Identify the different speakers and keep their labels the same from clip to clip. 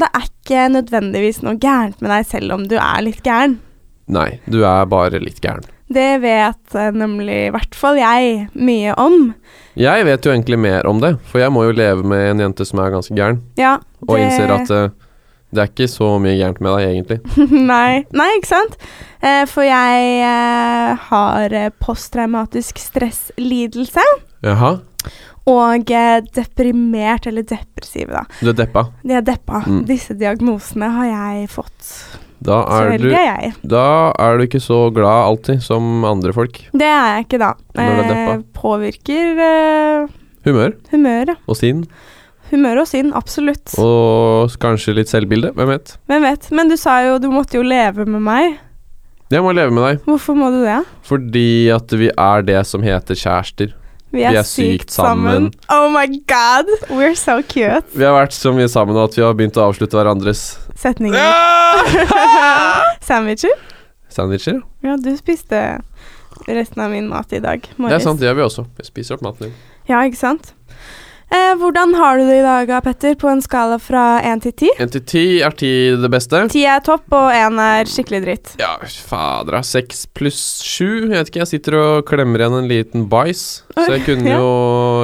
Speaker 1: ikke nødvendigvis noe gærent med deg selv om du er litt gæren.
Speaker 2: Nei, du er bare litt gæren.
Speaker 1: Det vet eh, nemlig i hvert fall jeg mye om.
Speaker 2: Jeg vet jo egentlig mer om det, for jeg må jo leve med en jente som er ganske gæren,
Speaker 1: Ja,
Speaker 2: og
Speaker 1: det-
Speaker 2: innser at eh, det er ikke så mye gærent med deg, egentlig.
Speaker 1: Nei, nei, ikke sant? Eh, For jeg eh, har eh, posttraumatisk stresslidelse
Speaker 2: Jaha,
Speaker 1: og eh, deprimert, eller depressive, da.
Speaker 2: du er deppa.
Speaker 1: De er deppa.
Speaker 2: Mm.
Speaker 1: Disse diagnosene har jeg fått.
Speaker 2: Da
Speaker 1: Så
Speaker 2: er, du,
Speaker 1: heldig er jeg.
Speaker 2: da er du ikke så glad alltid som andre folk.
Speaker 1: Det er jeg ikke, da.
Speaker 2: Når du er deppa?
Speaker 1: Eh, Påvirker eh,
Speaker 2: Humør
Speaker 1: humøret.
Speaker 2: og sinn,
Speaker 1: Humør og sinn, absolutt.
Speaker 2: og kanskje litt selvbilde, hvem vet.
Speaker 1: Hvem vet. Men du sa jo du måtte jo leve med meg.
Speaker 2: Jeg må leve med deg,
Speaker 1: Hvorfor må du det?
Speaker 2: fordi at vi er det som heter kjærester.
Speaker 1: Vi er, sykt sammen. Oh my god, we're so cute.
Speaker 2: Vi har vært så mye sammen at vi har begynt å avslutte hverandres
Speaker 1: Setningen.
Speaker 2: Ah!
Speaker 1: Sandwicher?
Speaker 2: Sandwicher. ja.
Speaker 1: Ja, du spiste resten av min mat i dag.
Speaker 2: Det
Speaker 1: morges.
Speaker 2: er sant, det gjør vi også. Vi spiser opp maten din.
Speaker 1: Ja, ikke sant? Eh, hvordan har du det i dag, Petter, på en skala fra 1 til 10?
Speaker 2: En til ti er ti det beste.
Speaker 1: 10 er topp, og 1 er skikkelig dritt.
Speaker 2: Ja, fader, da. Seks pluss sju. Jeg vet ikke, jeg sitter og klemmer igjen en liten bæsj. Så jeg kunne,
Speaker 1: Ja.
Speaker 2: jo,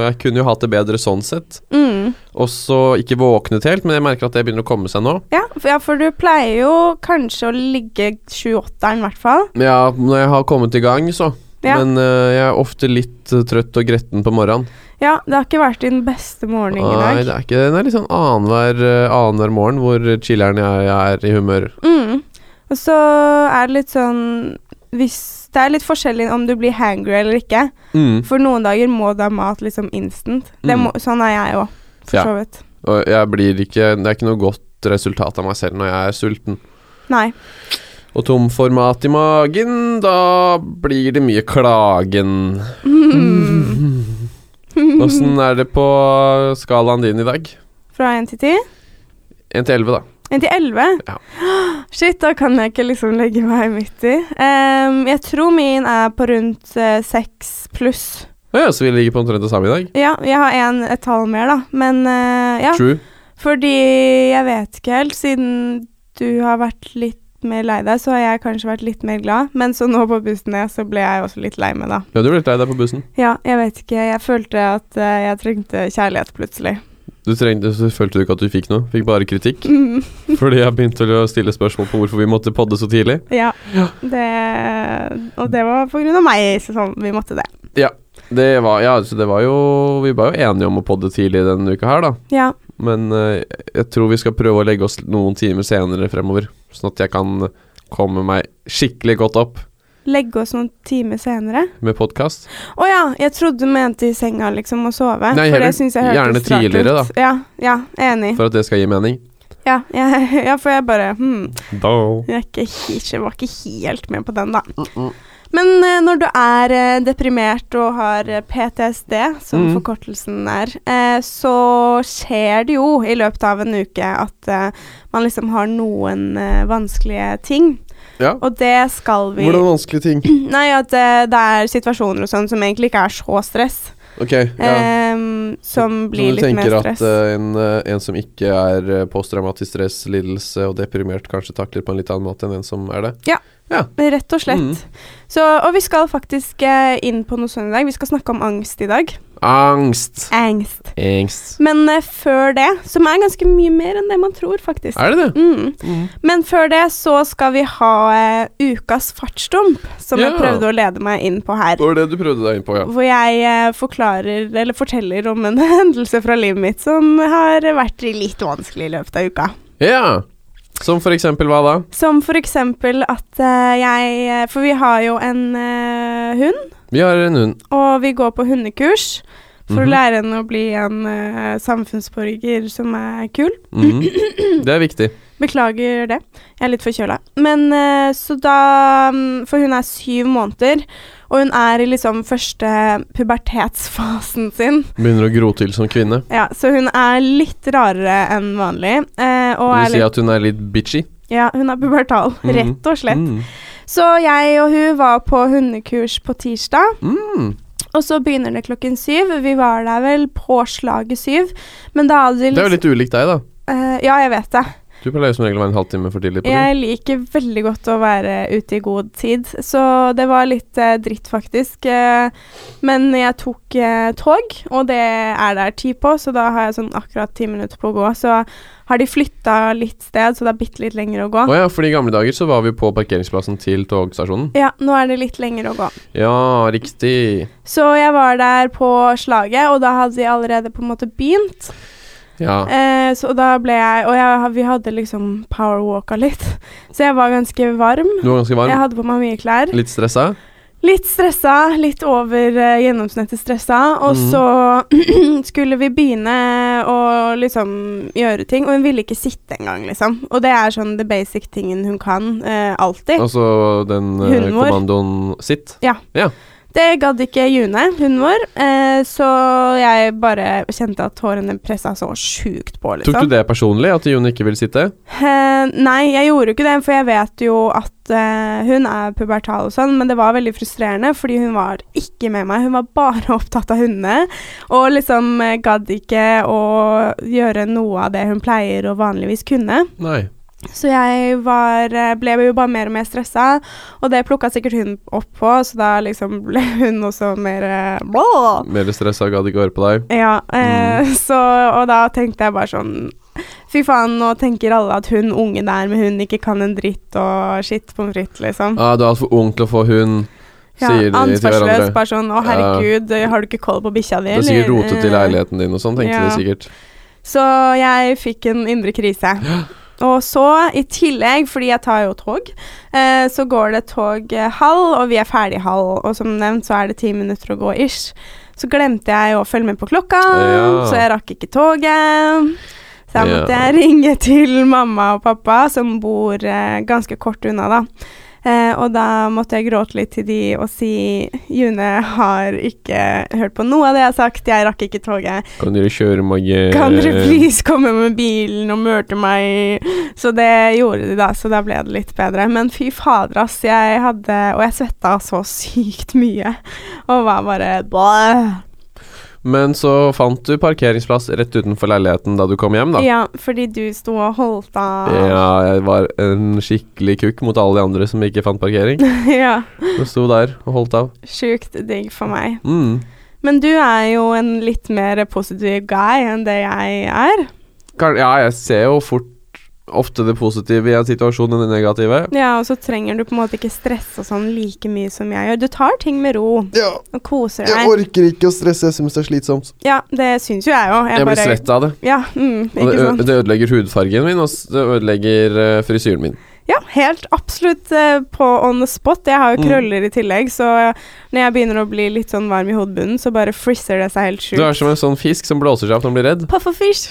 Speaker 2: jeg kunne jo hatt det bedre sånn sett.
Speaker 1: Mm.
Speaker 2: Og så ikke våknet helt, men jeg merker at det begynner å komme seg nå.
Speaker 1: Ja, for, ja, for du pleier jo kanskje å ligge 7-8-eren, i hvert fall.
Speaker 2: Ja, når jeg har kommet i gang, så.
Speaker 1: Ja.
Speaker 2: Men eh, jeg er ofte litt eh, trøtt og gretten på morgenen.
Speaker 1: Ja, det har ikke vært din beste morgen i dag.
Speaker 2: Nei, det er ikke Den er litt sånn annenhver eh, annenhver morgen hvor chiller'n jeg er i humør.
Speaker 1: Mm. Og så er det litt sånn hvis, Det er litt forskjellig om du blir hangry eller ikke.
Speaker 2: Mm.
Speaker 1: For noen dager må du ha mat liksom instant. Det
Speaker 2: Mm.
Speaker 1: må, sånn er jeg òg, for
Speaker 2: Ja.
Speaker 1: så vidt.
Speaker 2: Og jeg blir ikke Det er ikke noe godt resultat av meg selv når jeg er sulten.
Speaker 1: Nei.
Speaker 2: Og tom for mat i magen, da blir det mye klagen. Mm.
Speaker 1: Mm.
Speaker 2: Åssen er det på skalaen din i dag?
Speaker 1: Fra 1 til 10.
Speaker 2: 1 til 11, da.
Speaker 1: 1 til 11.
Speaker 2: Ja.
Speaker 1: Shit, da kan jeg ikke liksom legge meg midt i. Ehm, jeg tror min er på rundt eh, 6 pluss.
Speaker 2: Å Ja, så vi ligger på omtrent det samme i dag.
Speaker 1: Ja, jeg har en, et tall mer, da. Men eh, ja.
Speaker 2: True.
Speaker 1: Fordi jeg vet ikke helt. Siden du har vært litt mer lei deg, så har jeg kanskje vært litt mer glad. Men så nå på bussen ned, så ble jeg også litt lei meg, da.
Speaker 2: Ja, du ble litt lei deg på bussen.
Speaker 1: Ja, jeg vet ikke. Jeg følte at eh, jeg trengte kjærlighet plutselig.
Speaker 2: Du trengte, så følte du ikke at du fikk noe, fikk bare kritikk.
Speaker 1: Mm,
Speaker 2: Fordi jeg begynte å stille spørsmål på hvorfor vi måtte podde så tidlig.
Speaker 1: ja.
Speaker 2: Ja.
Speaker 1: Det, og det var på grunn av meg, så sånn, vi måtte det.
Speaker 2: Det var, ja, så det var jo Vi var jo enige om å podde tidlig denne uka her, da.
Speaker 1: Ja,
Speaker 2: Men eh, jeg tror vi skal prøve å legge oss noen timer senere fremover, sånn at jeg kan komme meg skikkelig godt opp
Speaker 1: legge oss noen timer senere.
Speaker 2: med podkast.
Speaker 1: Å ja, jeg trodde du mente i senga, liksom, å sove.
Speaker 2: Nei,
Speaker 1: for
Speaker 2: heller
Speaker 1: det synes jeg hørtes
Speaker 2: gjerne
Speaker 1: rart ut.
Speaker 2: tidligere, da.
Speaker 1: Ja, ja, enig.
Speaker 2: For at det skal gi mening.
Speaker 1: Ja, jeg, ja, for jeg bare hmm, jeg, er ikke, he- jeg var ikke helt med på den, da. Men eh, når du er eh, deprimert og har eh, PTSD, som
Speaker 2: Mm.
Speaker 1: forkortelsen er, eh, så skjer det jo i løpet av en uke at eh, man liksom har noen eh, vanskelige ting.
Speaker 2: Ja.
Speaker 1: Og det skal vi
Speaker 2: Hvordan vanskelige ting?
Speaker 1: Nei, at eh, det er situasjoner og sånn som egentlig ikke er så stress,
Speaker 2: Ok, ja.
Speaker 1: eh, som blir
Speaker 2: så du
Speaker 1: litt
Speaker 2: tenker
Speaker 1: mer
Speaker 2: at
Speaker 1: stress.
Speaker 2: eh, en, eh, en som ikke er eh, posttraumatisk stresslidelse og deprimert, kanskje takler på en litt annen måte enn en som er det?
Speaker 1: Rett og slett.
Speaker 2: Mm.
Speaker 1: Så, og vi skal faktisk eh, inn på noe sånt i dag. Vi skal snakke om angst i dag.
Speaker 2: Angst.
Speaker 1: Angst.
Speaker 2: Angst.
Speaker 1: Men eh, før det, som er ganske mye mer enn det man tror, faktisk.
Speaker 2: Er det det?
Speaker 1: Mm. Men før det så skal vi ha eh, ukas fartsdump, som jeg
Speaker 2: Ja.
Speaker 1: prøvde å lede meg inn på her.
Speaker 2: Det var det du prøvde deg inn på, ja.
Speaker 1: Hvor jeg eh, forklarer, eller forteller om en hendelse fra livet mitt som har vært litt vanskelig i løpet av uka.
Speaker 2: Ja. Som for eksempel hva da?
Speaker 1: Som for eksempel at eh, jeg For vi har jo en eh, hund,
Speaker 2: Vi har en hund.
Speaker 1: og vi går på hundekurs. For
Speaker 2: Mhm.
Speaker 1: å lære henne å bli en eh, samfunnsborger som er kul.
Speaker 2: Mhm. Det er viktig.
Speaker 1: Beklager det. Jeg er litt forkjøla. Men eh, så da mm, For hun er syv måneder, og hun er i liksom første pubertetsfasen sin.
Speaker 2: Begynner å gro til som kvinne.
Speaker 1: Ja, så hun er litt rarere enn vanlig. eh, og er
Speaker 2: Det vil si
Speaker 1: litt,
Speaker 2: at hun er litt bitchy.
Speaker 1: ja, hun er pubertal,
Speaker 2: Mhm.
Speaker 1: rett og slett.
Speaker 2: Mm.
Speaker 1: Så jeg og hun var på hundekurs på tirsdag,
Speaker 2: Mm.
Speaker 1: og så begynner det klokken syv. Vi var der vel på slaget syv, men da hadde de liksom,
Speaker 2: Det er jo litt ulikt deg, da.
Speaker 1: eh, Ja, jeg vet det.
Speaker 2: Du Du pleier som regel å være en halvtime for tidlig på jobb.
Speaker 1: Jeg liker veldig godt å være ute i god tid, så det var litt eh, dritt, faktisk. Eh, men jeg tok eh, tog, og det er der ti på, så da har jeg sånn akkurat ti minutter på å gå. Så har de flytta litt sted, så det er bitte litt lenger å gå.
Speaker 2: Å ja, for i gamle dager så var vi på parkeringsplassen til togstasjonen.
Speaker 1: Ja, nå er det litt lenger å gå.
Speaker 2: Ja, riktig.
Speaker 1: Så jeg var der på slaget, og da hadde de allerede på en måte begynt.
Speaker 2: Ja.
Speaker 1: Eh, så da ble jeg Og jeg, vi hadde liksom powerwalka litt, så jeg var ganske varm.
Speaker 2: Du var ganske
Speaker 1: Jeg
Speaker 2: varm.
Speaker 1: hadde på meg mye klær.
Speaker 2: Litt stressa.
Speaker 1: Litt stressa, litt over eh, gjennomsnittet stressa. Og
Speaker 2: Mhm.
Speaker 1: så skulle vi begynne å liksom gjøre ting, og hun ville ikke sitte engang, liksom. Og det er sånn the basic tingen hun kan, eh, alltid.
Speaker 2: Altså den eh,
Speaker 1: Hunden vår.
Speaker 2: kommandoen sitt.
Speaker 1: Det gadd ikke June, hunden vår, eh, så jeg bare kjente at hårene pressa så sjukt på, liksom.
Speaker 2: Tok du det personlig, at Jon ikke ville sitte?
Speaker 1: Eh, nei, jeg gjorde jo ikke det, for jeg vet jo at eh, hun er pubertal og sånn, men det var veldig frustrerende, fordi hun var ikke med meg. Hun var bare opptatt av hundene, og liksom eh, gadd ikke å gjøre noe av det hun pleier og vanligvis kunne.
Speaker 2: Nei.
Speaker 1: Så jeg var, eh, ble jo bare mer og mer stressa, og det plukka sikkert hun opp på, så da liksom ble hun også mer eh, blå.
Speaker 2: Mer stressa, gadd ikke høre på deg.
Speaker 1: Ja, eh,
Speaker 2: Mm.
Speaker 1: så, og da tenkte jeg bare sånn Fy faen, nå tenker alle at hun unge der med hun ikke kan en dritt og shit pommes frites, liksom.
Speaker 2: Ah, du er altfor ung til å få hund,
Speaker 1: Ja,
Speaker 2: sier de til
Speaker 1: ansvarsløs,
Speaker 2: hverandre.
Speaker 1: bare sånn Å, herregud, har du ikke koll på bikkja di,
Speaker 2: Det er sikkert
Speaker 1: eller?» eh,
Speaker 2: rotet i leiligheten din og sånn, tenkte
Speaker 1: Ja.
Speaker 2: de sikkert.
Speaker 1: Så jeg fikk en indre krise. Og så, i tillegg, fordi jeg tar jo tog, eh, så går det tog eh, halv, og vi er ferdig halv, og som nevnt så er det ti minutter å gå ish. Så glemte jeg å følge med på klokka,
Speaker 2: Ja.
Speaker 1: så jeg rakk ikke toget. Så jeg måtte
Speaker 2: Ja.
Speaker 1: ringe til mamma og pappa, som bor eh, ganske kort unna, da. Eh, og da måtte jeg gråte litt til de og si June har ikke hørt på noe av det jeg har sagt, jeg rakk ikke toget.
Speaker 2: Kan dere kjøre mage...
Speaker 1: Kan dere please komme med bilen og møte meg? Så det gjorde de da, så da ble det litt bedre. Men fy fader, ass. Jeg hadde Og jeg svetta så sykt mye. Og var bare bæh.
Speaker 2: Men så fant du parkeringsplass rett utenfor leiligheten da du kom hjem, da.
Speaker 1: Ja, fordi du sto og holdt av.
Speaker 2: Ja, jeg var en skikkelig kukk mot alle de andre som ikke fant parkering.
Speaker 1: ja.
Speaker 2: Du sto der og holdt av.
Speaker 1: Sjukt digg for meg.
Speaker 2: Mm.
Speaker 1: Men du er jo en litt mer positiv guy enn det jeg er.
Speaker 2: Kan- Ja, jeg ser jo fort ofte det positive i en situasjon enn det negative.
Speaker 1: Ja, og så trenger du på en måte ikke stresse og sånn like mye som jeg gjør. Du tar ting med ro
Speaker 2: Ja,
Speaker 1: og koser deg.
Speaker 2: orker ikke å stresse. Jeg syns det er slitsomt.
Speaker 1: Ja, det syns jo jeg òg.
Speaker 2: Jeg, blir svett av det.
Speaker 1: Ja, mm,
Speaker 2: Og
Speaker 1: ikke
Speaker 2: det, ø-
Speaker 1: sant.
Speaker 2: det ødelegger hudfargen min, og s- det ødelegger eh, frisyren min.
Speaker 1: Ja, helt absolutt eh, på on the spot. Jeg har jo
Speaker 2: Mm.
Speaker 1: krøller i tillegg, så eh, når jeg begynner å bli litt sånn varm i hodebunnen, så bare frisser det seg helt
Speaker 2: Du er
Speaker 1: sjukt.
Speaker 2: som en sånn fisk som blåser seg opp når han blir redd.
Speaker 1: Puff og fish.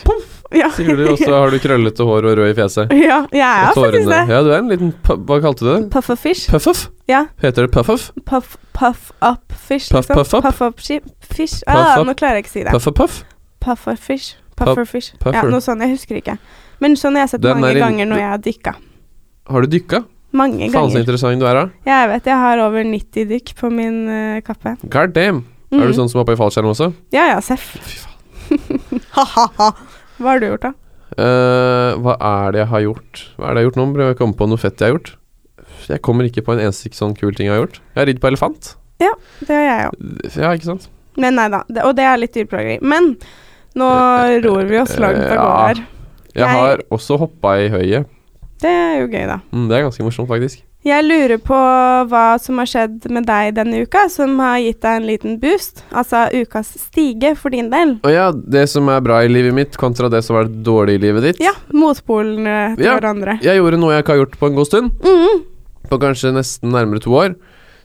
Speaker 1: Ja.
Speaker 2: Sier du, og så har du krøllete hår og rød i fjeset.
Speaker 1: ja, jeg er
Speaker 2: Og
Speaker 1: faktisk
Speaker 2: tårene.
Speaker 1: det.
Speaker 2: Ja, du er en liten pu- Hva kalte du det?
Speaker 1: Puff og fish.
Speaker 2: Puff-off?
Speaker 1: Ja.
Speaker 2: Heter det puff-off?
Speaker 1: Puff, puff up fish.
Speaker 2: Puff,
Speaker 1: liksom.
Speaker 2: puff up.
Speaker 1: Puff up shi- fish. Ah,
Speaker 2: Puff up.
Speaker 1: nå klarer jeg ikke å si det.
Speaker 2: Puff-puff?
Speaker 1: Puff or fish. Puff
Speaker 2: Puff-
Speaker 1: or fish. Ja,
Speaker 2: puffer.
Speaker 1: noe sånt. Jeg husker ikke. Men sånn jeg har sett
Speaker 2: Den
Speaker 1: mange
Speaker 2: er i-
Speaker 1: ganger når jeg har dykka.
Speaker 2: Har du dykka?
Speaker 1: Mange
Speaker 2: Faen så
Speaker 1: ganger.
Speaker 2: interessant du er, da.
Speaker 1: Jeg vet jeg har over 90 dykk på min eh, kappe.
Speaker 2: God damn. Er
Speaker 1: Mhm.
Speaker 2: du sånn som hopper i fallskjerm også?
Speaker 1: Ja ja, seff. Ha-ha-ha. Hva har du gjort, da?
Speaker 2: Eh, hva er det jeg har gjort? Hva er det jeg har gjort nå? Prøver jeg å komme på noe fett jeg har gjort. Jeg kommer ikke på en eneste sånn kul ting jeg har gjort. Jeg har ridd på elefant.
Speaker 1: Det har jeg òg.
Speaker 2: Ja, ikke sant?
Speaker 1: Men nei da. Det, og det er litt dyreplageri. Men nå ror vi oss langt av gårde
Speaker 2: Ja.
Speaker 1: her.
Speaker 2: Jeg,
Speaker 1: Jeg-
Speaker 2: har også hoppa i høyet.
Speaker 1: Det er jo gøy, da.
Speaker 2: Mm, det er ganske morsomt, faktisk.
Speaker 1: Jeg lurer på hva som har skjedd med deg denne uka, som har gitt deg en liten boost. Altså ukas stige for din del.
Speaker 2: Og ja, det som er bra i livet mitt, kontra det som er dårlig i livet ditt.
Speaker 1: Ja, motpolene til
Speaker 2: Ja.
Speaker 1: hverandre.
Speaker 2: Jeg gjorde noe jeg ikke har gjort på en god stund.
Speaker 1: Mm.
Speaker 2: På kanskje nesten nærmere to år.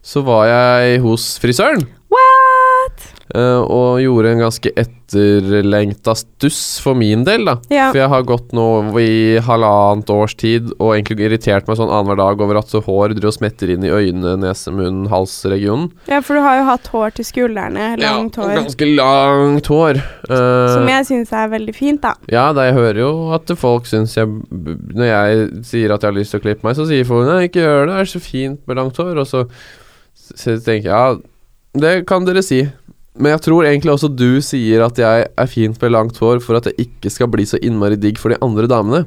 Speaker 2: Så var jeg hos frisøren.
Speaker 1: What?
Speaker 2: Eh, og gjorde en ganske etterlengta stuss for min del, da.
Speaker 1: Ja.
Speaker 2: For jeg har gått nå i halvannet års tid og egentlig irritert meg sånn annenhver dag over at så hår driver og smetter inn i øynene, nese, munn, halsregionen.
Speaker 1: Ja, for du har jo hatt hår til skuldrene. Langt
Speaker 2: ja, og
Speaker 1: hår.
Speaker 2: Ganske langt hår. Eh,
Speaker 1: Som jeg syns er veldig fint, da.
Speaker 2: Ja, da jeg hører jo at folk syns jeg b- Når jeg sier at jeg har lyst til å klippe meg, så sier folk nei, ikke gjør det, det er så fint med langt hår. Og så, så tenker jeg ja, det kan dere si. Men jeg tror egentlig også du sier at jeg er fint med langt hår for at jeg ikke skal bli så innmari digg for de andre damene.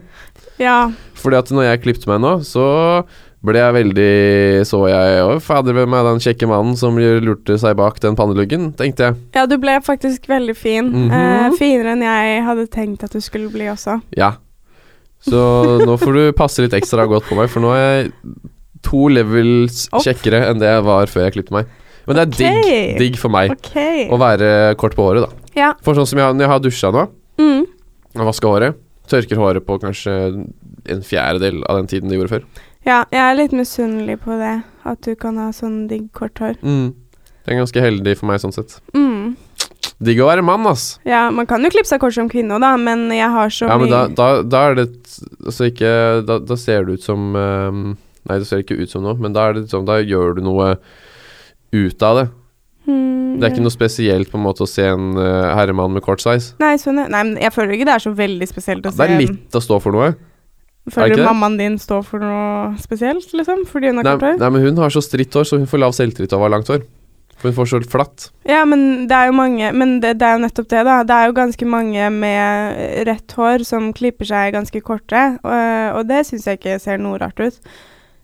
Speaker 1: Ja.
Speaker 2: Fordi at når jeg klippte meg nå, så ble jeg veldig Så jeg Å, fader, hvem er den kjekke mannen som lurte seg bak den panneluggen? tenkte jeg.
Speaker 1: ja, du ble faktisk veldig fin.
Speaker 2: Mhm.
Speaker 1: eh, finere enn jeg hadde tenkt at du skulle bli også.
Speaker 2: Ja. Så nå får du passe litt ekstra godt på meg, for nå er jeg to levels
Speaker 1: Opp.
Speaker 2: kjekkere enn det jeg var før jeg klippet meg. Men det er
Speaker 1: Ok.
Speaker 2: digg, digg for meg
Speaker 1: OK.
Speaker 2: å være kort på håret, da.
Speaker 1: Ja.
Speaker 2: For sånn som jeg, når jeg har dusja nå,
Speaker 1: Mm.
Speaker 2: og vaska håret, tørker håret på kanskje en fjerdedel av den tiden det gjorde før.
Speaker 1: ja, jeg er litt misunnelig på det. At du kan ha sånn digg kort hår.
Speaker 2: Det er ganske heldig for meg sånn sett.
Speaker 1: Mm.
Speaker 2: Digg å være mann, ass.
Speaker 1: Ja, man kan jo klippe seg kort som kvinne òg, da, men jeg har så
Speaker 2: Ja, men da,
Speaker 1: mye
Speaker 2: da, da er det Altså ikke Da, da ser det ut som ehm, Nei, det ser ikke ut som noe, men da er det sånn Da gjør du noe ut av det.
Speaker 1: Mm,
Speaker 2: Det er
Speaker 1: ja.
Speaker 2: ikke noe spesielt på en måte å se en eh, herremann med kort size.
Speaker 1: Nei, sånn, ja. Nei, men jeg føler ikke det er så veldig spesielt å
Speaker 2: Det er
Speaker 1: se
Speaker 2: litt å stå for noe. er det
Speaker 1: Føler du
Speaker 2: ikke det?
Speaker 1: mammaen din står for noe spesielt, liksom? Fordi hun har
Speaker 2: Nei,
Speaker 1: kort hår?
Speaker 2: nei, men hun har så stritt hår, så hun får lav selvtillit av å ha langt hår. For hun får så flatt.
Speaker 1: Ja, men det er jo mange Men det, det er jo nettopp det, da. Det er jo ganske mange med rett hår som klipper seg ganske korte, og, og det syns jeg ikke ser noe rart ut.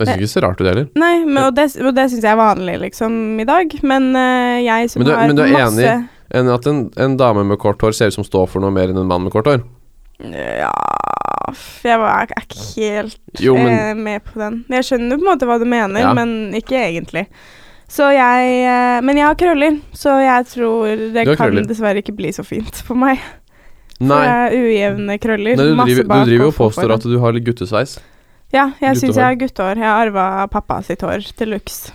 Speaker 2: Jeg syns
Speaker 1: Nei.
Speaker 2: ikke det ser rart ut, heller.
Speaker 1: Nei, men, og det, og det syns jeg er vanlig, liksom, i dag. Men eh, jeg som
Speaker 2: Men du-
Speaker 1: har
Speaker 2: men du er
Speaker 1: masse
Speaker 2: enig? Enn at en, en dame med kort hår ser ut som står for noe mer enn en mann med kort hår.
Speaker 1: Ja f- Jeg var- er ikke helt
Speaker 2: Jo, men
Speaker 1: eh, med på den. Jeg skjønner på en måte hva du mener,
Speaker 2: Ja.
Speaker 1: men ikke egentlig. Så jeg eh, Men jeg har krøller, så jeg tror det
Speaker 2: Du har
Speaker 1: kan
Speaker 2: krøller.
Speaker 1: dessverre ikke bli så fint for meg. For
Speaker 2: Nei.
Speaker 1: jeg har ujevne krøller.
Speaker 2: nei du,
Speaker 1: masse
Speaker 2: driver,
Speaker 1: bak
Speaker 2: du driver jo og
Speaker 1: foran.
Speaker 2: påstår at du har litt guttesveis.
Speaker 1: Ja, jeg syns jeg
Speaker 2: guttehår.
Speaker 1: har guttehår. Jeg har arva pappa sitt hår til luxe.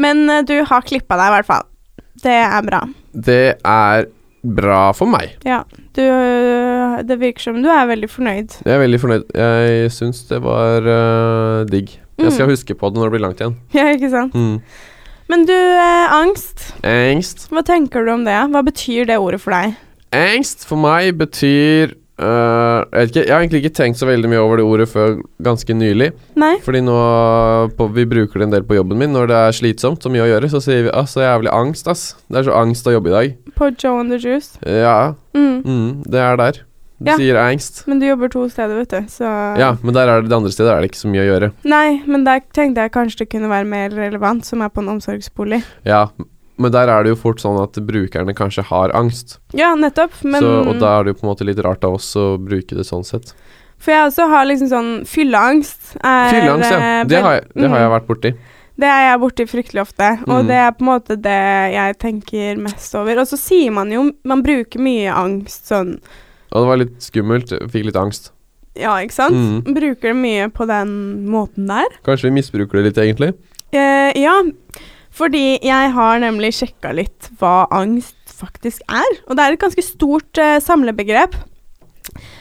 Speaker 1: Men eh, du har klippa deg, i hvert fall. Det er bra.
Speaker 2: Det er bra for meg.
Speaker 1: Ja. Du, eh, det virker som du er veldig fornøyd.
Speaker 2: Jeg er veldig fornøyd. Jeg syns det var øh, digg. Jeg
Speaker 1: Mm.
Speaker 2: skal huske på det når det blir langt igjen.
Speaker 1: Ja, ikke sant? Men du, eh, angst.
Speaker 2: Angst.
Speaker 1: Hva tenker du om det? Hva betyr det ordet for deg?
Speaker 2: Angst for meg betyr øh, jeg, vet ikke, jeg har egentlig ikke tenkt så veldig mye over det ordet før ganske nylig.
Speaker 1: Nei?
Speaker 2: Fordi nå på, Vi bruker det en del på jobben min. Når det er slitsomt og mye å gjøre, så sier vi «Ah, så jævlig angst, ass. Det er så angst å jobbe i dag.
Speaker 1: På Joe and the Juice?
Speaker 2: Ja,
Speaker 1: Mm.
Speaker 2: mm, det er der. Du
Speaker 1: Ja.
Speaker 2: sier angst.
Speaker 1: Men du jobber to steder, vet du, så
Speaker 2: Ja, men der er det, det andre stedet er det ikke så mye å gjøre.
Speaker 1: Nei, men der tenkte jeg kanskje det kunne være mer relevant, som er på en omsorgsbolig.
Speaker 2: Ja, Men der er det jo fort sånn at brukerne kanskje har angst.
Speaker 1: Ja, nettopp, men
Speaker 2: så, og da er det jo på en måte litt rart av oss å bruke det sånn sett.
Speaker 1: For jeg også har liksom sånn fylleangst. er,
Speaker 2: Fylleangst, ja.
Speaker 1: eh,
Speaker 2: Det har, jeg, det har jeg
Speaker 1: mm,
Speaker 2: vært borti.
Speaker 1: Det er jeg borti fryktelig ofte, og
Speaker 2: Mm.
Speaker 1: det er på en måte det jeg tenker mest over. Og så sier man jo Man bruker mye angst sånn
Speaker 2: Og det var litt skummelt. jeg Fikk litt angst.
Speaker 1: Ja, ikke sant?
Speaker 2: Mm.
Speaker 1: Bruker det mye på den måten der.
Speaker 2: Kanskje vi misbruker det litt, egentlig.
Speaker 1: Eh, ja, fordi jeg har nemlig sjekka litt hva angst faktisk er. Og det er et ganske stort eh, samlebegrep.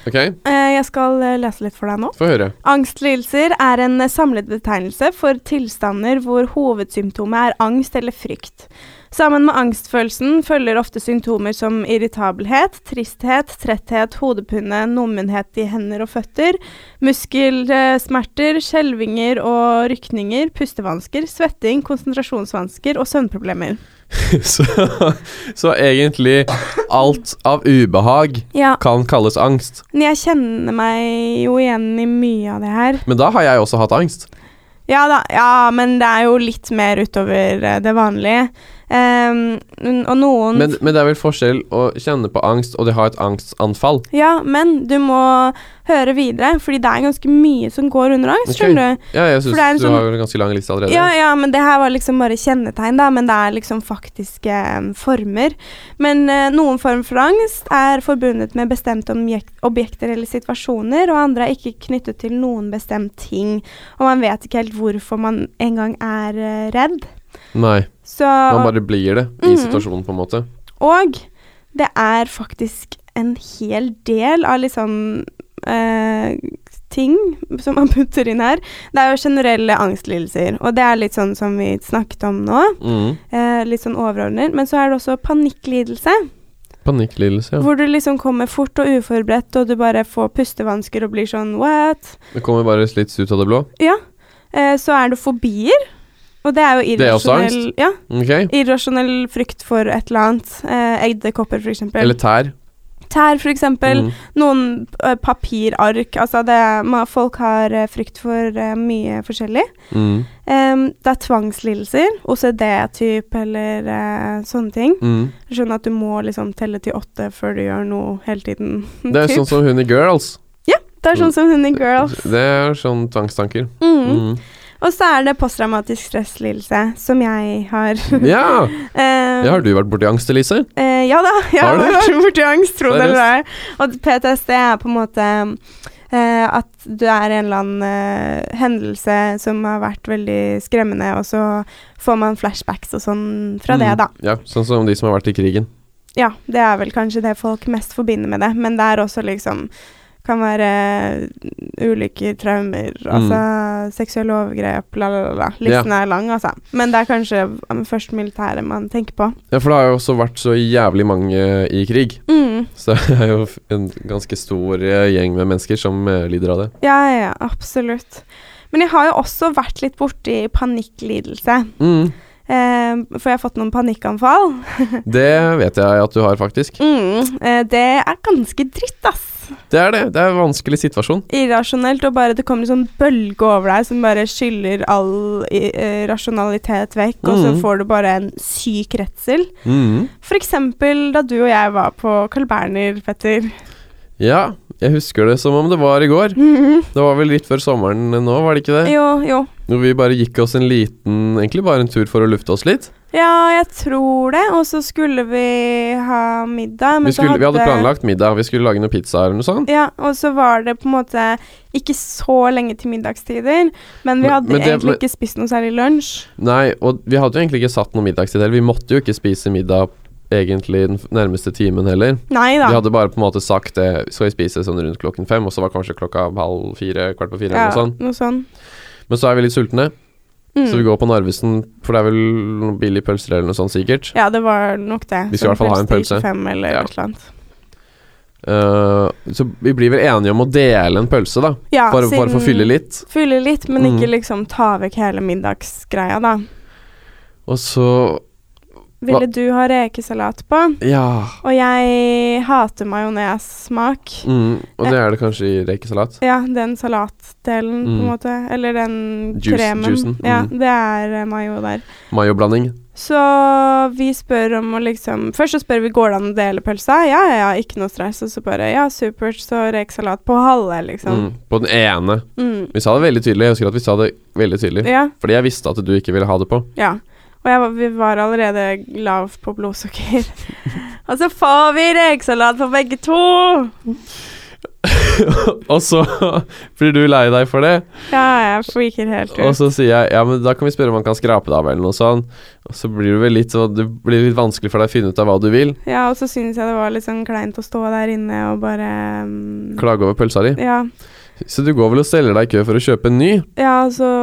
Speaker 2: Ok,
Speaker 1: Eh, jeg skal eh, lese litt for deg nå.
Speaker 2: få høre.
Speaker 1: Angstlidelser er en eh, samlet betegnelse for tilstander hvor hovedsymptomet er angst eller frykt. Sammen med angstfølelsen følger ofte symptomer som irritabelhet, tristhet, tretthet, hodepine, nummenhet i hender og føtter, muskelsmerter, skjelvinger og rykninger, pustevansker, svetting, konsentrasjonsvansker og søvnproblemer.
Speaker 2: så, så egentlig alt av ubehag
Speaker 1: Ja,
Speaker 2: kan kalles angst.
Speaker 1: men jeg kjenner meg jo igjen i mye av det her.
Speaker 2: Men da har jeg også hatt angst.
Speaker 1: Ja da, ja, men det er jo litt mer utover eh, det vanlige. Ehm, n- og noen
Speaker 2: Men, men det er vel forskjell å kjenne på angst og det ha et angstanfall.
Speaker 1: Ja, men du må høre videre, fordi det er ganske mye som går under angst,
Speaker 2: Ok.
Speaker 1: skjønner du.
Speaker 2: Ja, jeg syns
Speaker 1: For det er en
Speaker 2: du
Speaker 1: sånn-
Speaker 2: har en ganske lang liste allerede.
Speaker 1: Ja, ja, men det her var liksom bare kjennetegn, da, men det er liksom faktiske eh, former. Men eh, noen form for angst er forbundet med bestemte objek objekter eller situasjoner, og andre er ikke knyttet til noen bestemt ting. Og man vet ikke helt hvorfor man engang er eh, redd.
Speaker 2: Nei,
Speaker 1: Så
Speaker 2: man bare blir det i
Speaker 1: Mhm.
Speaker 2: situasjonen, på en måte.
Speaker 1: Og det er faktisk en hel del av liksom eh, ting som man putter inn her. Det er jo generelle angstlidelser, og det er litt sånn som vi snakket om nå.
Speaker 2: Mm.
Speaker 1: Eh, litt sånn overordnet. Men så er det også panikklidelse,
Speaker 2: Panikklidelse, ja.
Speaker 1: hvor du liksom kommer fort og uforberedt, og du bare får pustevansker og blir sånn what?
Speaker 2: Det kommer bare litt ut av det blå.
Speaker 1: Ja. Eh, så er det fobier. Og det er jo
Speaker 2: Det er også
Speaker 1: irrasjonell, ja,
Speaker 2: Ok?
Speaker 1: irrasjonell frykt for et eller annet. Eh, Edderkopper, for eksempel.
Speaker 2: Eller tær.
Speaker 1: Tær, for eksempel.
Speaker 2: Mm.
Speaker 1: Noen eh, papirark. Altså, det, ma- folk har eh, frykt for eh, mye forskjellig.
Speaker 2: Mm.
Speaker 1: Em, det er tvangslidelser, OCD-type eller eh, sånne ting.
Speaker 2: Mm.
Speaker 1: Jeg skjønner at du må liksom telle til åtte før du gjør noe hele tiden.
Speaker 2: Det er
Speaker 1: typ.
Speaker 2: sånn som hun i Girls.
Speaker 1: det er sånn som hun i Girls.
Speaker 2: Det er sånn tvangstanker.
Speaker 1: Mm.
Speaker 2: Mm.
Speaker 1: Og så er det posttraumatisk stresslidelse, som jeg har.
Speaker 2: Mm. Ja!
Speaker 1: Em,
Speaker 2: ja! Har du vært borti angst, Elise?
Speaker 1: Eh, ja da, jeg
Speaker 2: Har
Speaker 1: har
Speaker 2: du?
Speaker 1: vært borti angst, tro det eller ei.
Speaker 2: Seriøst?
Speaker 1: Og PTSD er på en måte eh, at du er i en eller annen eh, hendelse som har vært veldig skremmende, og så får man flashbacks og sånn fra det,
Speaker 2: Mm.
Speaker 1: da.
Speaker 2: Ja, sånn som de som har vært i krigen.
Speaker 1: Ja, det er vel kanskje det folk mest forbinder med det, men det er også liksom kan være eh, ulykker, traumer,
Speaker 2: Mm.
Speaker 1: altså seksuelle overgrep, la, la, la, la. Listen er lang, altså. Men det er kanskje eh, først militæret man tenker på.
Speaker 2: Ja, for det har jo også vært så jævlig mange i krig.
Speaker 1: Mm.
Speaker 2: Så det er jo en ganske stor eh, gjeng med mennesker som eh, lider av det.
Speaker 1: Ja, ja, ja, absolutt. Men jeg har jo også vært litt borti panikklidelse.
Speaker 2: Mm.
Speaker 1: Eh, for jeg har fått noen panikkanfall.
Speaker 2: Det vet jeg at du har, faktisk.
Speaker 1: Mm, eh, det er ganske dritt, ass.
Speaker 2: Det er det. Det er en vanskelig situasjon.
Speaker 1: Irrasjonelt, og bare det kommer en sånn bølge over deg som bare skyller all i, eh, rasjonalitet vekk, og så
Speaker 2: Mm.
Speaker 1: får du bare en syk redsel.
Speaker 2: Mm.
Speaker 1: For eksempel da du og jeg var på Carl Berner, Petter.
Speaker 2: Ja, jeg husker det som om det var i går.
Speaker 1: Mhm.
Speaker 2: Det var vel litt før sommeren nå, var det ikke det?
Speaker 1: Jo, jo.
Speaker 2: Når vi bare gikk oss en liten Egentlig bare en tur for å lufte oss litt.
Speaker 1: Ja, jeg tror det. Og så skulle vi ha middag. men
Speaker 2: Vi,
Speaker 1: så
Speaker 2: skulle, vi hadde planlagt middag. Vi skulle lage noen pizza eller noe sånt.
Speaker 1: Ja, og så var det på en måte ikke så lenge til middagstider, men vi
Speaker 2: Men-
Speaker 1: hadde
Speaker 2: men det-
Speaker 1: egentlig
Speaker 2: men-
Speaker 1: ikke spist noe særlig lunsj.
Speaker 2: Nei, og vi hadde jo egentlig ikke satt noen middagstid heller. Vi måtte jo ikke spise middag egentlig den f- nærmeste timen heller.
Speaker 1: Nei da.
Speaker 2: Vi hadde bare på en måte sagt det, skal vi spise sånn rundt klokken fem, og så var kanskje klokka halv fire, kvart på fire
Speaker 1: ja,
Speaker 2: eller noe sånt.
Speaker 1: noe sånn.
Speaker 2: Men så er vi litt sultne,
Speaker 1: Mm.
Speaker 2: så vi går på Narvesen, for det er vel noen billige pølser eller noe sånt sikkert.
Speaker 1: Ja, det var nok det.
Speaker 2: Vi skal i hvert fall ha en pølse.
Speaker 1: Fem eller
Speaker 2: Ja.
Speaker 1: et eller annet.
Speaker 2: Eh, så vi blir vel enige om å dele en pølse, da,
Speaker 1: Ja,
Speaker 2: bare, bare for å fylle litt.
Speaker 1: Fylle litt, men
Speaker 2: Mm.
Speaker 1: ikke liksom ta vekk hele middagsgreia, da.
Speaker 2: Og så
Speaker 1: Ville du ha rekesalat på?
Speaker 2: Ja.
Speaker 1: Og jeg hater majonessmak.
Speaker 2: Mm, og det er det kanskje i rekesalat.
Speaker 1: Ja, den salatdelen, på
Speaker 2: Mm.
Speaker 1: en måte. Eller den
Speaker 2: Juice-
Speaker 1: kremen.
Speaker 2: juicen,
Speaker 1: Ja,
Speaker 2: mm.
Speaker 1: det er eh, mayo der.
Speaker 2: Mayoblanding.
Speaker 1: Så vi spør om å liksom Først så spør vi går det an å dele pølsa. Ja, ja, ja, ikke noe stress. Og så bare ja, supert, så rekesalat på halve, liksom.
Speaker 2: Mm, på den ene.
Speaker 1: Mm.
Speaker 2: Vi sa det veldig tydelig. Jeg husker at vi sa det veldig tydelig.
Speaker 1: Ja.
Speaker 2: Fordi jeg visste at du ikke ville ha det på.
Speaker 1: ja. Og jeg, var- vi var allerede lav på blodsukker. og så får vi rekesalat på begge to!
Speaker 2: og så blir du lei deg for det,
Speaker 1: Ja, jeg freaker helt
Speaker 2: og
Speaker 1: ut.
Speaker 2: så sier jeg ja, men da kan vi spørre om han kan skrape det av, eller noe sånt. Og så blir det vel litt, så det blir litt vanskelig for deg å finne ut av hva du vil.
Speaker 1: Ja, og så syns jeg det var litt sånn kleint å stå der inne og bare mm,
Speaker 2: Klage over pølsa di.
Speaker 1: ja,
Speaker 2: Så du går vel og steller deg i kø for å kjøpe en ny?
Speaker 1: ja, og så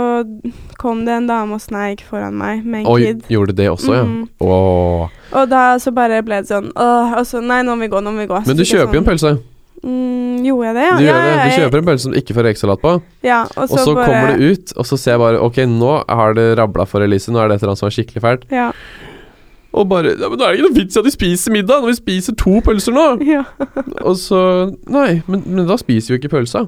Speaker 1: kom det en dame og sneik foran meg med en
Speaker 2: Oi,
Speaker 1: kid.
Speaker 2: gjorde det også, ja.
Speaker 1: Mhm.
Speaker 2: Åh.
Speaker 1: Og da så bare ble det sånn Åh, og så Nei, nå må vi gå, nå må vi gå.
Speaker 2: Men du kjøper jo en pølse.
Speaker 1: pølse. Mm, gjorde jeg det, sånn. ja?
Speaker 2: Du
Speaker 1: ja,
Speaker 2: gjør det.
Speaker 1: ja,
Speaker 2: Du
Speaker 1: ja,
Speaker 2: kjøper en pølse som du ikke får rekesalat på,
Speaker 1: Ja, og
Speaker 2: og
Speaker 1: så,
Speaker 2: så
Speaker 1: bare,
Speaker 2: kommer det ut, og så ser jeg bare Ok, nå har det rabla for Elise, nå er det et eller annet som er skikkelig fælt.
Speaker 1: Ja.
Speaker 2: Og bare ja, men Da er det ikke noe vits i at vi spiser middag, når vi spiser to pølser nå!
Speaker 1: ja.
Speaker 2: Og så Nei, men, men da spiser vi jo ikke pølsa.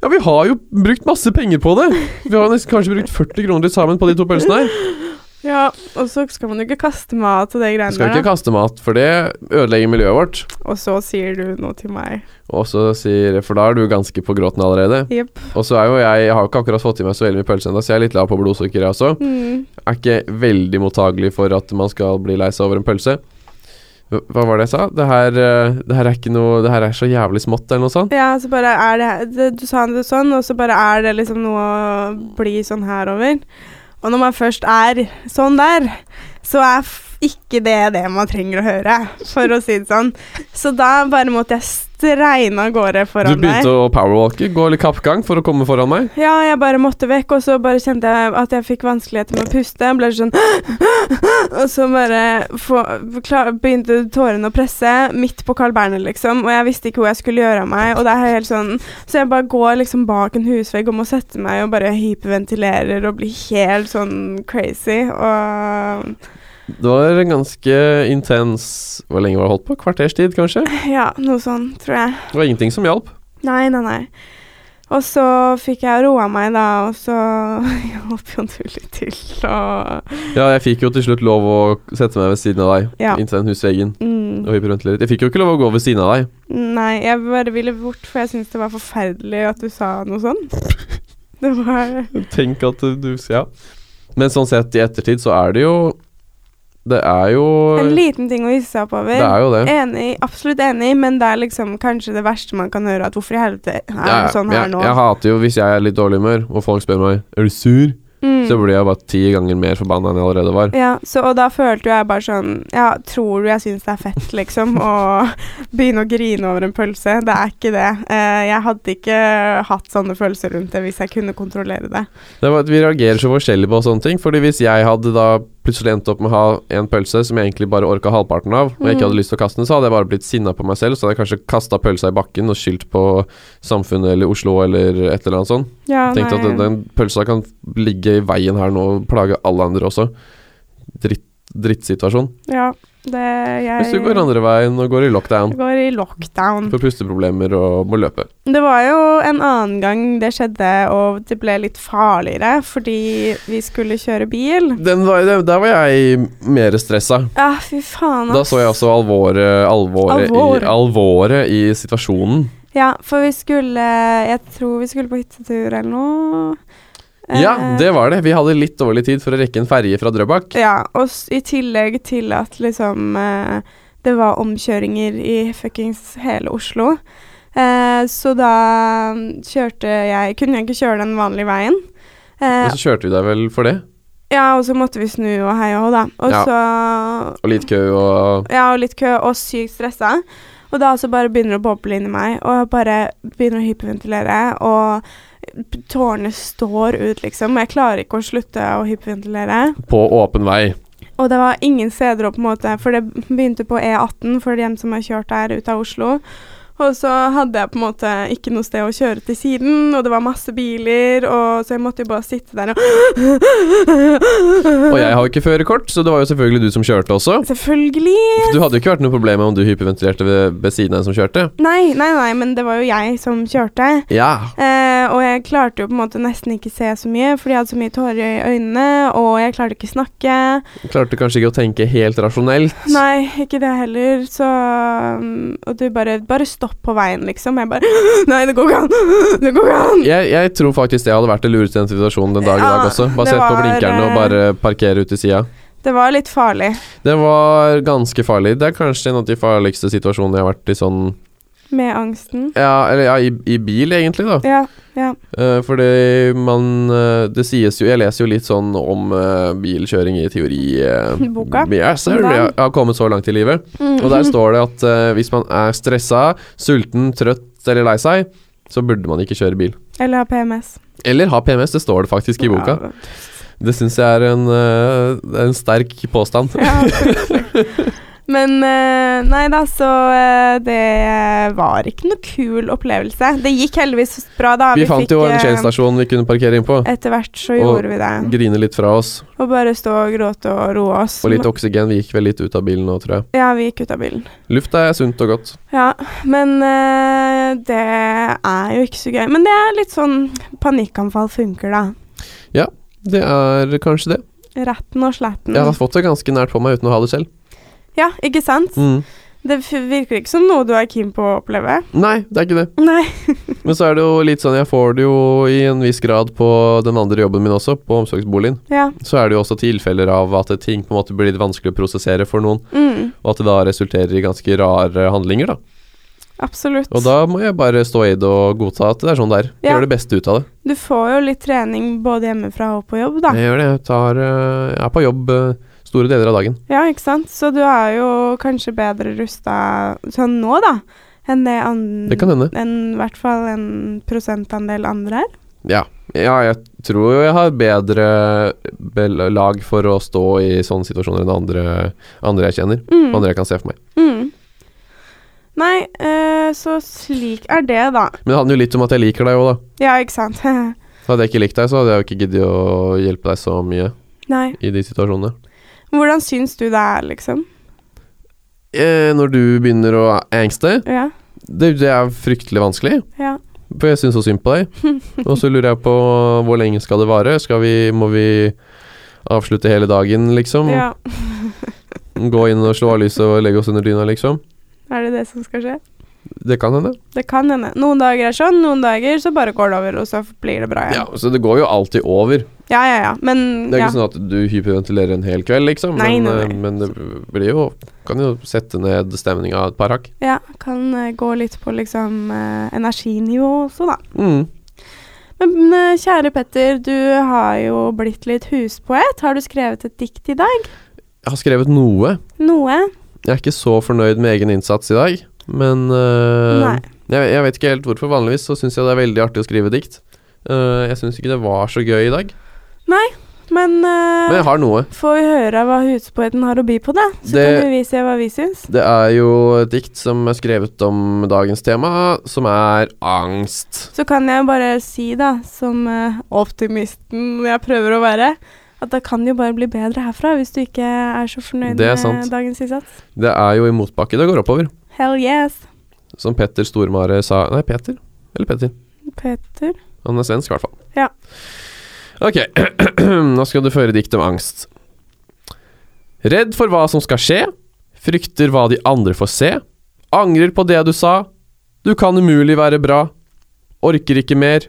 Speaker 2: Ja, vi har jo brukt masse penger på det! Vi har nesten kanskje brukt 40 kroner til sammen på de to pølsene her.
Speaker 1: ja. Og så skal man jo ikke kaste mat og de
Speaker 2: Vi
Speaker 1: greiene
Speaker 2: skal ikke
Speaker 1: der. da.
Speaker 2: kaste mat, for det ødelegger miljøet vårt.
Speaker 1: Og så sier du noe til meg.
Speaker 2: Og så sier For da er du ganske på gråten allerede.
Speaker 1: Jepp.
Speaker 2: Og så er jo jeg Jeg har jo ikke akkurat fått i meg så veldig mye pølse ennå, så jeg er litt lav på blodsukkeret jeg også.
Speaker 1: Mm.
Speaker 2: er ikke veldig mottagelig for at man skal bli lei seg over en pølse. Hva hva var det jeg sa? Det her, eh, det her er ikke noe Det her er så jævlig smått, eller noe sånt.
Speaker 1: Ja, så bare er det, her- det Du sa det sånn, og så bare er det liksom noe å bli sånn herover. Og når man først er sånn der, så er f ikke det det man trenger å høre, for å si det sånn. Så da bare måtte jeg streina av gårde
Speaker 2: Du
Speaker 1: foran meg.
Speaker 2: begynte å powerwalke, gå litt kappgang for å komme foran meg.
Speaker 1: Ja, jeg bare måtte vekk, og så bare kjente jeg at jeg fikk vanskeligheter med å puste. Jeg ble sånn Og så bare få, klar, begynte tårene å presse midt på Carl Berner, liksom. Og jeg visste ikke hvor jeg skulle gjøre av meg. Og det er helt sånn Så jeg bare går liksom bak en husvegg og må sette meg og bare hyperventilerer og blir helt sånn crazy. Og
Speaker 2: Det var en ganske intens Hvor lenge var det holdt på? Kvarters tid, kanskje?
Speaker 1: ja, noe sånn, tror jeg.
Speaker 2: Det var ingenting som hjalp.
Speaker 1: Nei, nei, nei. Og så fikk jeg roa meg, da, og så hjalp jo du litt til, og
Speaker 2: Ja, jeg fikk jo til slutt lov å sette meg ved siden av deg
Speaker 1: Ja.
Speaker 2: inntil den husveggen.
Speaker 1: mm.
Speaker 2: Og hyperventilere. Jeg fikk jo ikke lov å gå ved siden av deg.
Speaker 1: Nei, jeg bare ville bort, for jeg syntes det var forferdelig at du sa noe sånt. Det var
Speaker 2: Tenk at du Ja. Men sånn sett i ettertid så er det jo Det er jo
Speaker 1: en liten ting å hisse seg opp over.
Speaker 2: Det er jo det.
Speaker 1: Enig, absolutt enig, men det er liksom kanskje det verste man kan høre. At hvorfor i helvete er
Speaker 2: Ja,
Speaker 1: det sånn
Speaker 2: jeg,
Speaker 1: her nå?
Speaker 2: jeg hater jo hvis jeg er litt dårlig i humør, og folk spør meg Er du sur,
Speaker 1: Mm.
Speaker 2: så blir jeg bare ti ganger mer forbanna enn jeg allerede var.
Speaker 1: Ja, så, og da følte jo jeg bare sånn Ja, tror du jeg syns det er fett, liksom, å begynne å grine over en pølse? Det er ikke det. Eh, jeg hadde ikke hatt sånne følelser rundt det hvis jeg kunne kontrollere det.
Speaker 2: Det var at Vi reagerer så forskjellig på sånne ting. Fordi hvis jeg hadde da plutselig endt opp med å ha en pølse som jeg egentlig bare orka halvparten av, og jeg ikke
Speaker 1: Mm.
Speaker 2: hadde lyst til å kaste den, så hadde jeg bare blitt sinna på meg selv. Så hadde jeg kanskje kasta pølsa i bakken og skyldt på samfunnet eller Oslo eller et eller annet sånt.
Speaker 1: Ja,
Speaker 2: Tenkte at
Speaker 1: nei.
Speaker 2: den, den pølsa kan ligge i veien her nå og plage alle andre også. Dritt, drittsituasjon.
Speaker 1: Ja, det jeg
Speaker 2: Hvis du går andre veien og går i lockdown,
Speaker 1: går i lockdown.
Speaker 2: får pusteproblemer og må løpe.
Speaker 1: Det var jo en annen gang det skjedde, og det ble litt farligere fordi vi skulle kjøre bil.
Speaker 2: Den var, den, der var jeg mer stressa.
Speaker 1: Ja, fy faen,
Speaker 2: Da
Speaker 1: ass.
Speaker 2: så jeg også alvoret alvoret
Speaker 1: Alvor.
Speaker 2: i, alvoret i situasjonen.
Speaker 1: Ja, for vi skulle Jeg tror vi skulle på hyttetur eller noe.
Speaker 2: Ja,
Speaker 1: Eh,
Speaker 2: det var det. Vi hadde litt dårlig tid for å rekke en ferje fra Drøbak.
Speaker 1: Ja, og s i tillegg til at liksom eh, det var omkjøringer i fuckings hele Oslo. Eh, så da mm, kjørte jeg Kunne jeg ikke kjøre den vanlige veien. Eh,
Speaker 2: Men så kjørte vi deg vel for det.
Speaker 1: ja, og så måtte vi snu og hei og hå, da. Og
Speaker 2: Ja.
Speaker 1: så
Speaker 2: Og litt kø og
Speaker 1: Ja, og litt kø, og sykt stressa. Og da også bare begynner det å boble inni meg, og jeg bare begynner å hyperventilere. Og p- tårene står ut, liksom. Jeg klarer ikke å slutte å hyperventilere.
Speaker 2: på åpen vei.
Speaker 1: Og det var ingen steder å på en måte For det begynte på E18 for dem som har kjørt der ut av Oslo. Og så hadde jeg på en måte ikke noe sted å kjøre til siden, og det var masse biler, og så jeg måtte jo bare sitte der og
Speaker 2: Og jeg har jo ikke førerkort, så det var jo selvfølgelig du som kjørte også.
Speaker 1: Selvfølgelig!
Speaker 2: Du hadde jo ikke vært noe problem om du hyperventilerte ved, ved siden av en som kjørte.
Speaker 1: Nei, nei, nei, men det var jo jeg som kjørte.
Speaker 2: Ja.
Speaker 1: Eh, og jeg klarte jo på en måte nesten ikke se så mye, fordi jeg hadde så mye tårer i øynene, og jeg klarte ikke snakke.
Speaker 2: Klarte kanskje ikke å tenke helt rasjonelt.
Speaker 1: Nei, ikke det heller, så um, Og du bare Bare stopp på veien, liksom. Jeg bare Nei, det går ikke an! Det går ikke an!
Speaker 2: Jeg, jeg tror faktisk det hadde vært det lureste i den situasjonen den dag i dag
Speaker 1: Ja,
Speaker 2: også. Bare
Speaker 1: det
Speaker 2: sett på
Speaker 1: var,
Speaker 2: blinkerne og
Speaker 1: eh,
Speaker 2: bare parkere ute i sida.
Speaker 1: Det var litt farlig.
Speaker 2: Det var ganske farlig. Det er kanskje en av de farligste situasjonene jeg har vært i sånn
Speaker 1: Med angsten.
Speaker 2: Ja, eller ja, i, i bil, egentlig, da.
Speaker 1: Ja. ja.
Speaker 2: Eh, fordi man eh, Det sies jo Jeg leser jo litt sånn om eh, bilkjøring i teori eh,
Speaker 1: Boka.
Speaker 2: Ja, sir,
Speaker 1: Hvordan?
Speaker 2: jeg har kommet så langt i livet.
Speaker 1: Mm.
Speaker 2: Og der står det at eh, hvis man er stressa, sulten, trøtt eller lei seg, så burde man ikke kjøre bil.
Speaker 1: Eller har PMS.
Speaker 2: Eller ha PMS, det står det faktisk i boka.
Speaker 1: Ja.
Speaker 2: Det syns jeg er en, eh, det er en sterk påstand.
Speaker 1: Ja, fryktelig. Men eh, nei da, så eh, det var ikke noe kul opplevelse. Det gikk heldigvis bra da.
Speaker 2: Vi fant
Speaker 1: fikk,
Speaker 2: jo en
Speaker 1: eh,
Speaker 2: Shell-stasjon vi kunne parkere inn på.
Speaker 1: Etter hvert så
Speaker 2: Og-
Speaker 1: gjorde vi det.
Speaker 2: Grine litt fra oss,
Speaker 1: Og bare stå og gråte og roe oss.
Speaker 2: og litt oksygen. Vi gikk vel litt ut av bilen nå, tror jeg.
Speaker 1: Ja, vi gikk ut av bilen.
Speaker 2: Lufta er sunt og godt.
Speaker 1: Ja, men eh, det er jo ikke så gøy. Men det er litt sånn panikkanfall funker, da.
Speaker 2: Det er kanskje det.
Speaker 1: Retten og sletten.
Speaker 2: Jeg har fått det ganske nært på meg uten å ha det selv.
Speaker 1: Ja, ikke sant? Det f- virker ikke som noe du er keen på å oppleve.
Speaker 2: Nei, det er ikke det.
Speaker 1: Nei.
Speaker 2: Men så er det jo litt sånn, jeg får det jo i en viss grad på den andre jobben min også, på omsorgsboligen.
Speaker 1: Ja.
Speaker 2: Så er det jo også tilfeller av at ting på en måte blir litt vanskelig å prosessere for noen,
Speaker 1: Mm,
Speaker 2: og at det da resulterer i ganske rare handlinger, da.
Speaker 1: absolutt.
Speaker 2: Og da må jeg bare stå i det og godta at det er sånn det er.
Speaker 1: Ja.
Speaker 2: Gjør det beste ut av det.
Speaker 1: Du får jo litt trening både hjemmefra og på jobb, da.
Speaker 2: Jeg gjør det. Jeg, tar, øh, jeg er på jobb øh, store deler av dagen.
Speaker 1: Ja, ikke sant? Så du er jo kanskje bedre rusta sånn nå, da, enn det, an-
Speaker 2: Det kan hende.
Speaker 1: enn i hvert fall en prosentandel andre er.
Speaker 2: Ja. ja, jeg tror jo jeg har bedre belag for å stå i sånne situasjoner enn andre, andre jeg kjenner.
Speaker 1: Mm.
Speaker 2: Andre jeg kan se for meg.
Speaker 1: Mm. Nei, eh, så slik er det, da.
Speaker 2: Men det handler jo litt om at jeg liker deg òg, da.
Speaker 1: Ja, ikke sant.
Speaker 2: Hadde jeg ikke likt deg, så hadde jeg jo ikke giddet å hjelpe deg så mye
Speaker 1: Nei.
Speaker 2: i de situasjonene.
Speaker 1: Hvordan syns du det er, liksom?
Speaker 2: Eh, når du begynner å angste,
Speaker 1: Ja.
Speaker 2: det, det er fryktelig vanskelig.
Speaker 1: ja.
Speaker 2: For jeg syns så synd på deg. Og så lurer jeg på hvor lenge skal det vare? Skal vi, må vi avslutte hele dagen, liksom?
Speaker 1: ja.
Speaker 2: Gå inn og slå av lyset og legge oss under dyna, liksom?
Speaker 1: Er det det som skal skje?
Speaker 2: Det kan hende.
Speaker 1: Det kan hende. Noen dager er sånn, noen dager så bare går det over, og så blir det bra
Speaker 2: Ja,
Speaker 1: igjen.
Speaker 2: Så det går jo alltid over.
Speaker 1: Ja, ja, ja. Men
Speaker 2: Det er
Speaker 1: ja.
Speaker 2: ikke sånn at du hyperventilerer en hel kveld, liksom.
Speaker 1: Nei,
Speaker 2: men,
Speaker 1: nei, nei.
Speaker 2: eh, men det blir jo Kan jo sette ned stemninga et par hakk.
Speaker 1: ja, kan eh, gå litt på liksom eh, energinivå også, da.
Speaker 2: Mm.
Speaker 1: Men eh, kjære Petter, du har jo blitt litt huspoet. Har du skrevet et dikt i dag?
Speaker 2: Jeg har skrevet noe.
Speaker 1: Noe?
Speaker 2: Jeg er ikke så fornøyd med egen innsats i dag, men eh,
Speaker 1: Nei.
Speaker 2: jeg, jeg vet ikke helt hvorfor. Vanligvis så syns jeg det er veldig artig å skrive dikt. Eh, jeg syns ikke det var så gøy i dag.
Speaker 1: Men, eh,
Speaker 2: Men jeg har noe.
Speaker 1: får vi høre hva huspoeten har å by på, da? Så
Speaker 2: Det-
Speaker 1: kan vi se hva vi syns.
Speaker 2: Det er jo et dikt som er skrevet om dagens tema, som er angst.
Speaker 1: Så kan jeg bare si, da, som eh, optimisten jeg prøver å være, at det kan jo bare bli bedre herfra hvis du ikke er så fornøyd
Speaker 2: Det er
Speaker 1: med
Speaker 2: sant.
Speaker 1: dagens innsats.
Speaker 2: Det er jo i motbakke det går oppover.
Speaker 1: Hell yes,
Speaker 2: Som Petter Stormare sa Nei, Peter? Eller Petter?
Speaker 1: Petter.
Speaker 2: Han er svensk, i hvert fall.
Speaker 1: Ja.
Speaker 2: Ok, nå skal du føre dikt om angst. Redd for hva som skal skje, frykter hva de andre får se, angrer på det du sa, du kan umulig være bra, orker ikke mer,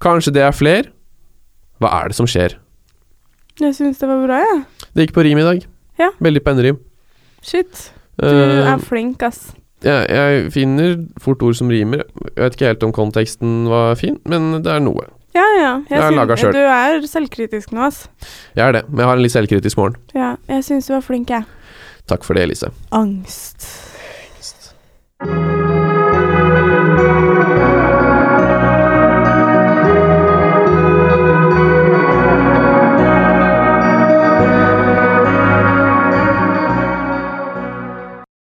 Speaker 2: kanskje det er fler, hva er det som skjer?
Speaker 1: Jeg syns det var bra, jeg. Ja.
Speaker 2: Det gikk på rim i dag.
Speaker 1: Ja.
Speaker 2: Veldig pennrim.
Speaker 1: Shit. Du
Speaker 2: Eh,
Speaker 1: er flink, ass.
Speaker 2: jeg, jeg finner fort ord som rimer. Jeg vet ikke helt om konteksten var fin, men det er noe.
Speaker 1: Ja, ja.
Speaker 2: Jeg har
Speaker 1: syn-
Speaker 2: laget selv.
Speaker 1: Du er selvkritisk nå, ass.
Speaker 2: Jeg er det, men jeg har en litt selvkritisk morgen.
Speaker 1: Ja, jeg syns du var flink, jeg.
Speaker 2: Takk for det, Elise.
Speaker 1: Angst.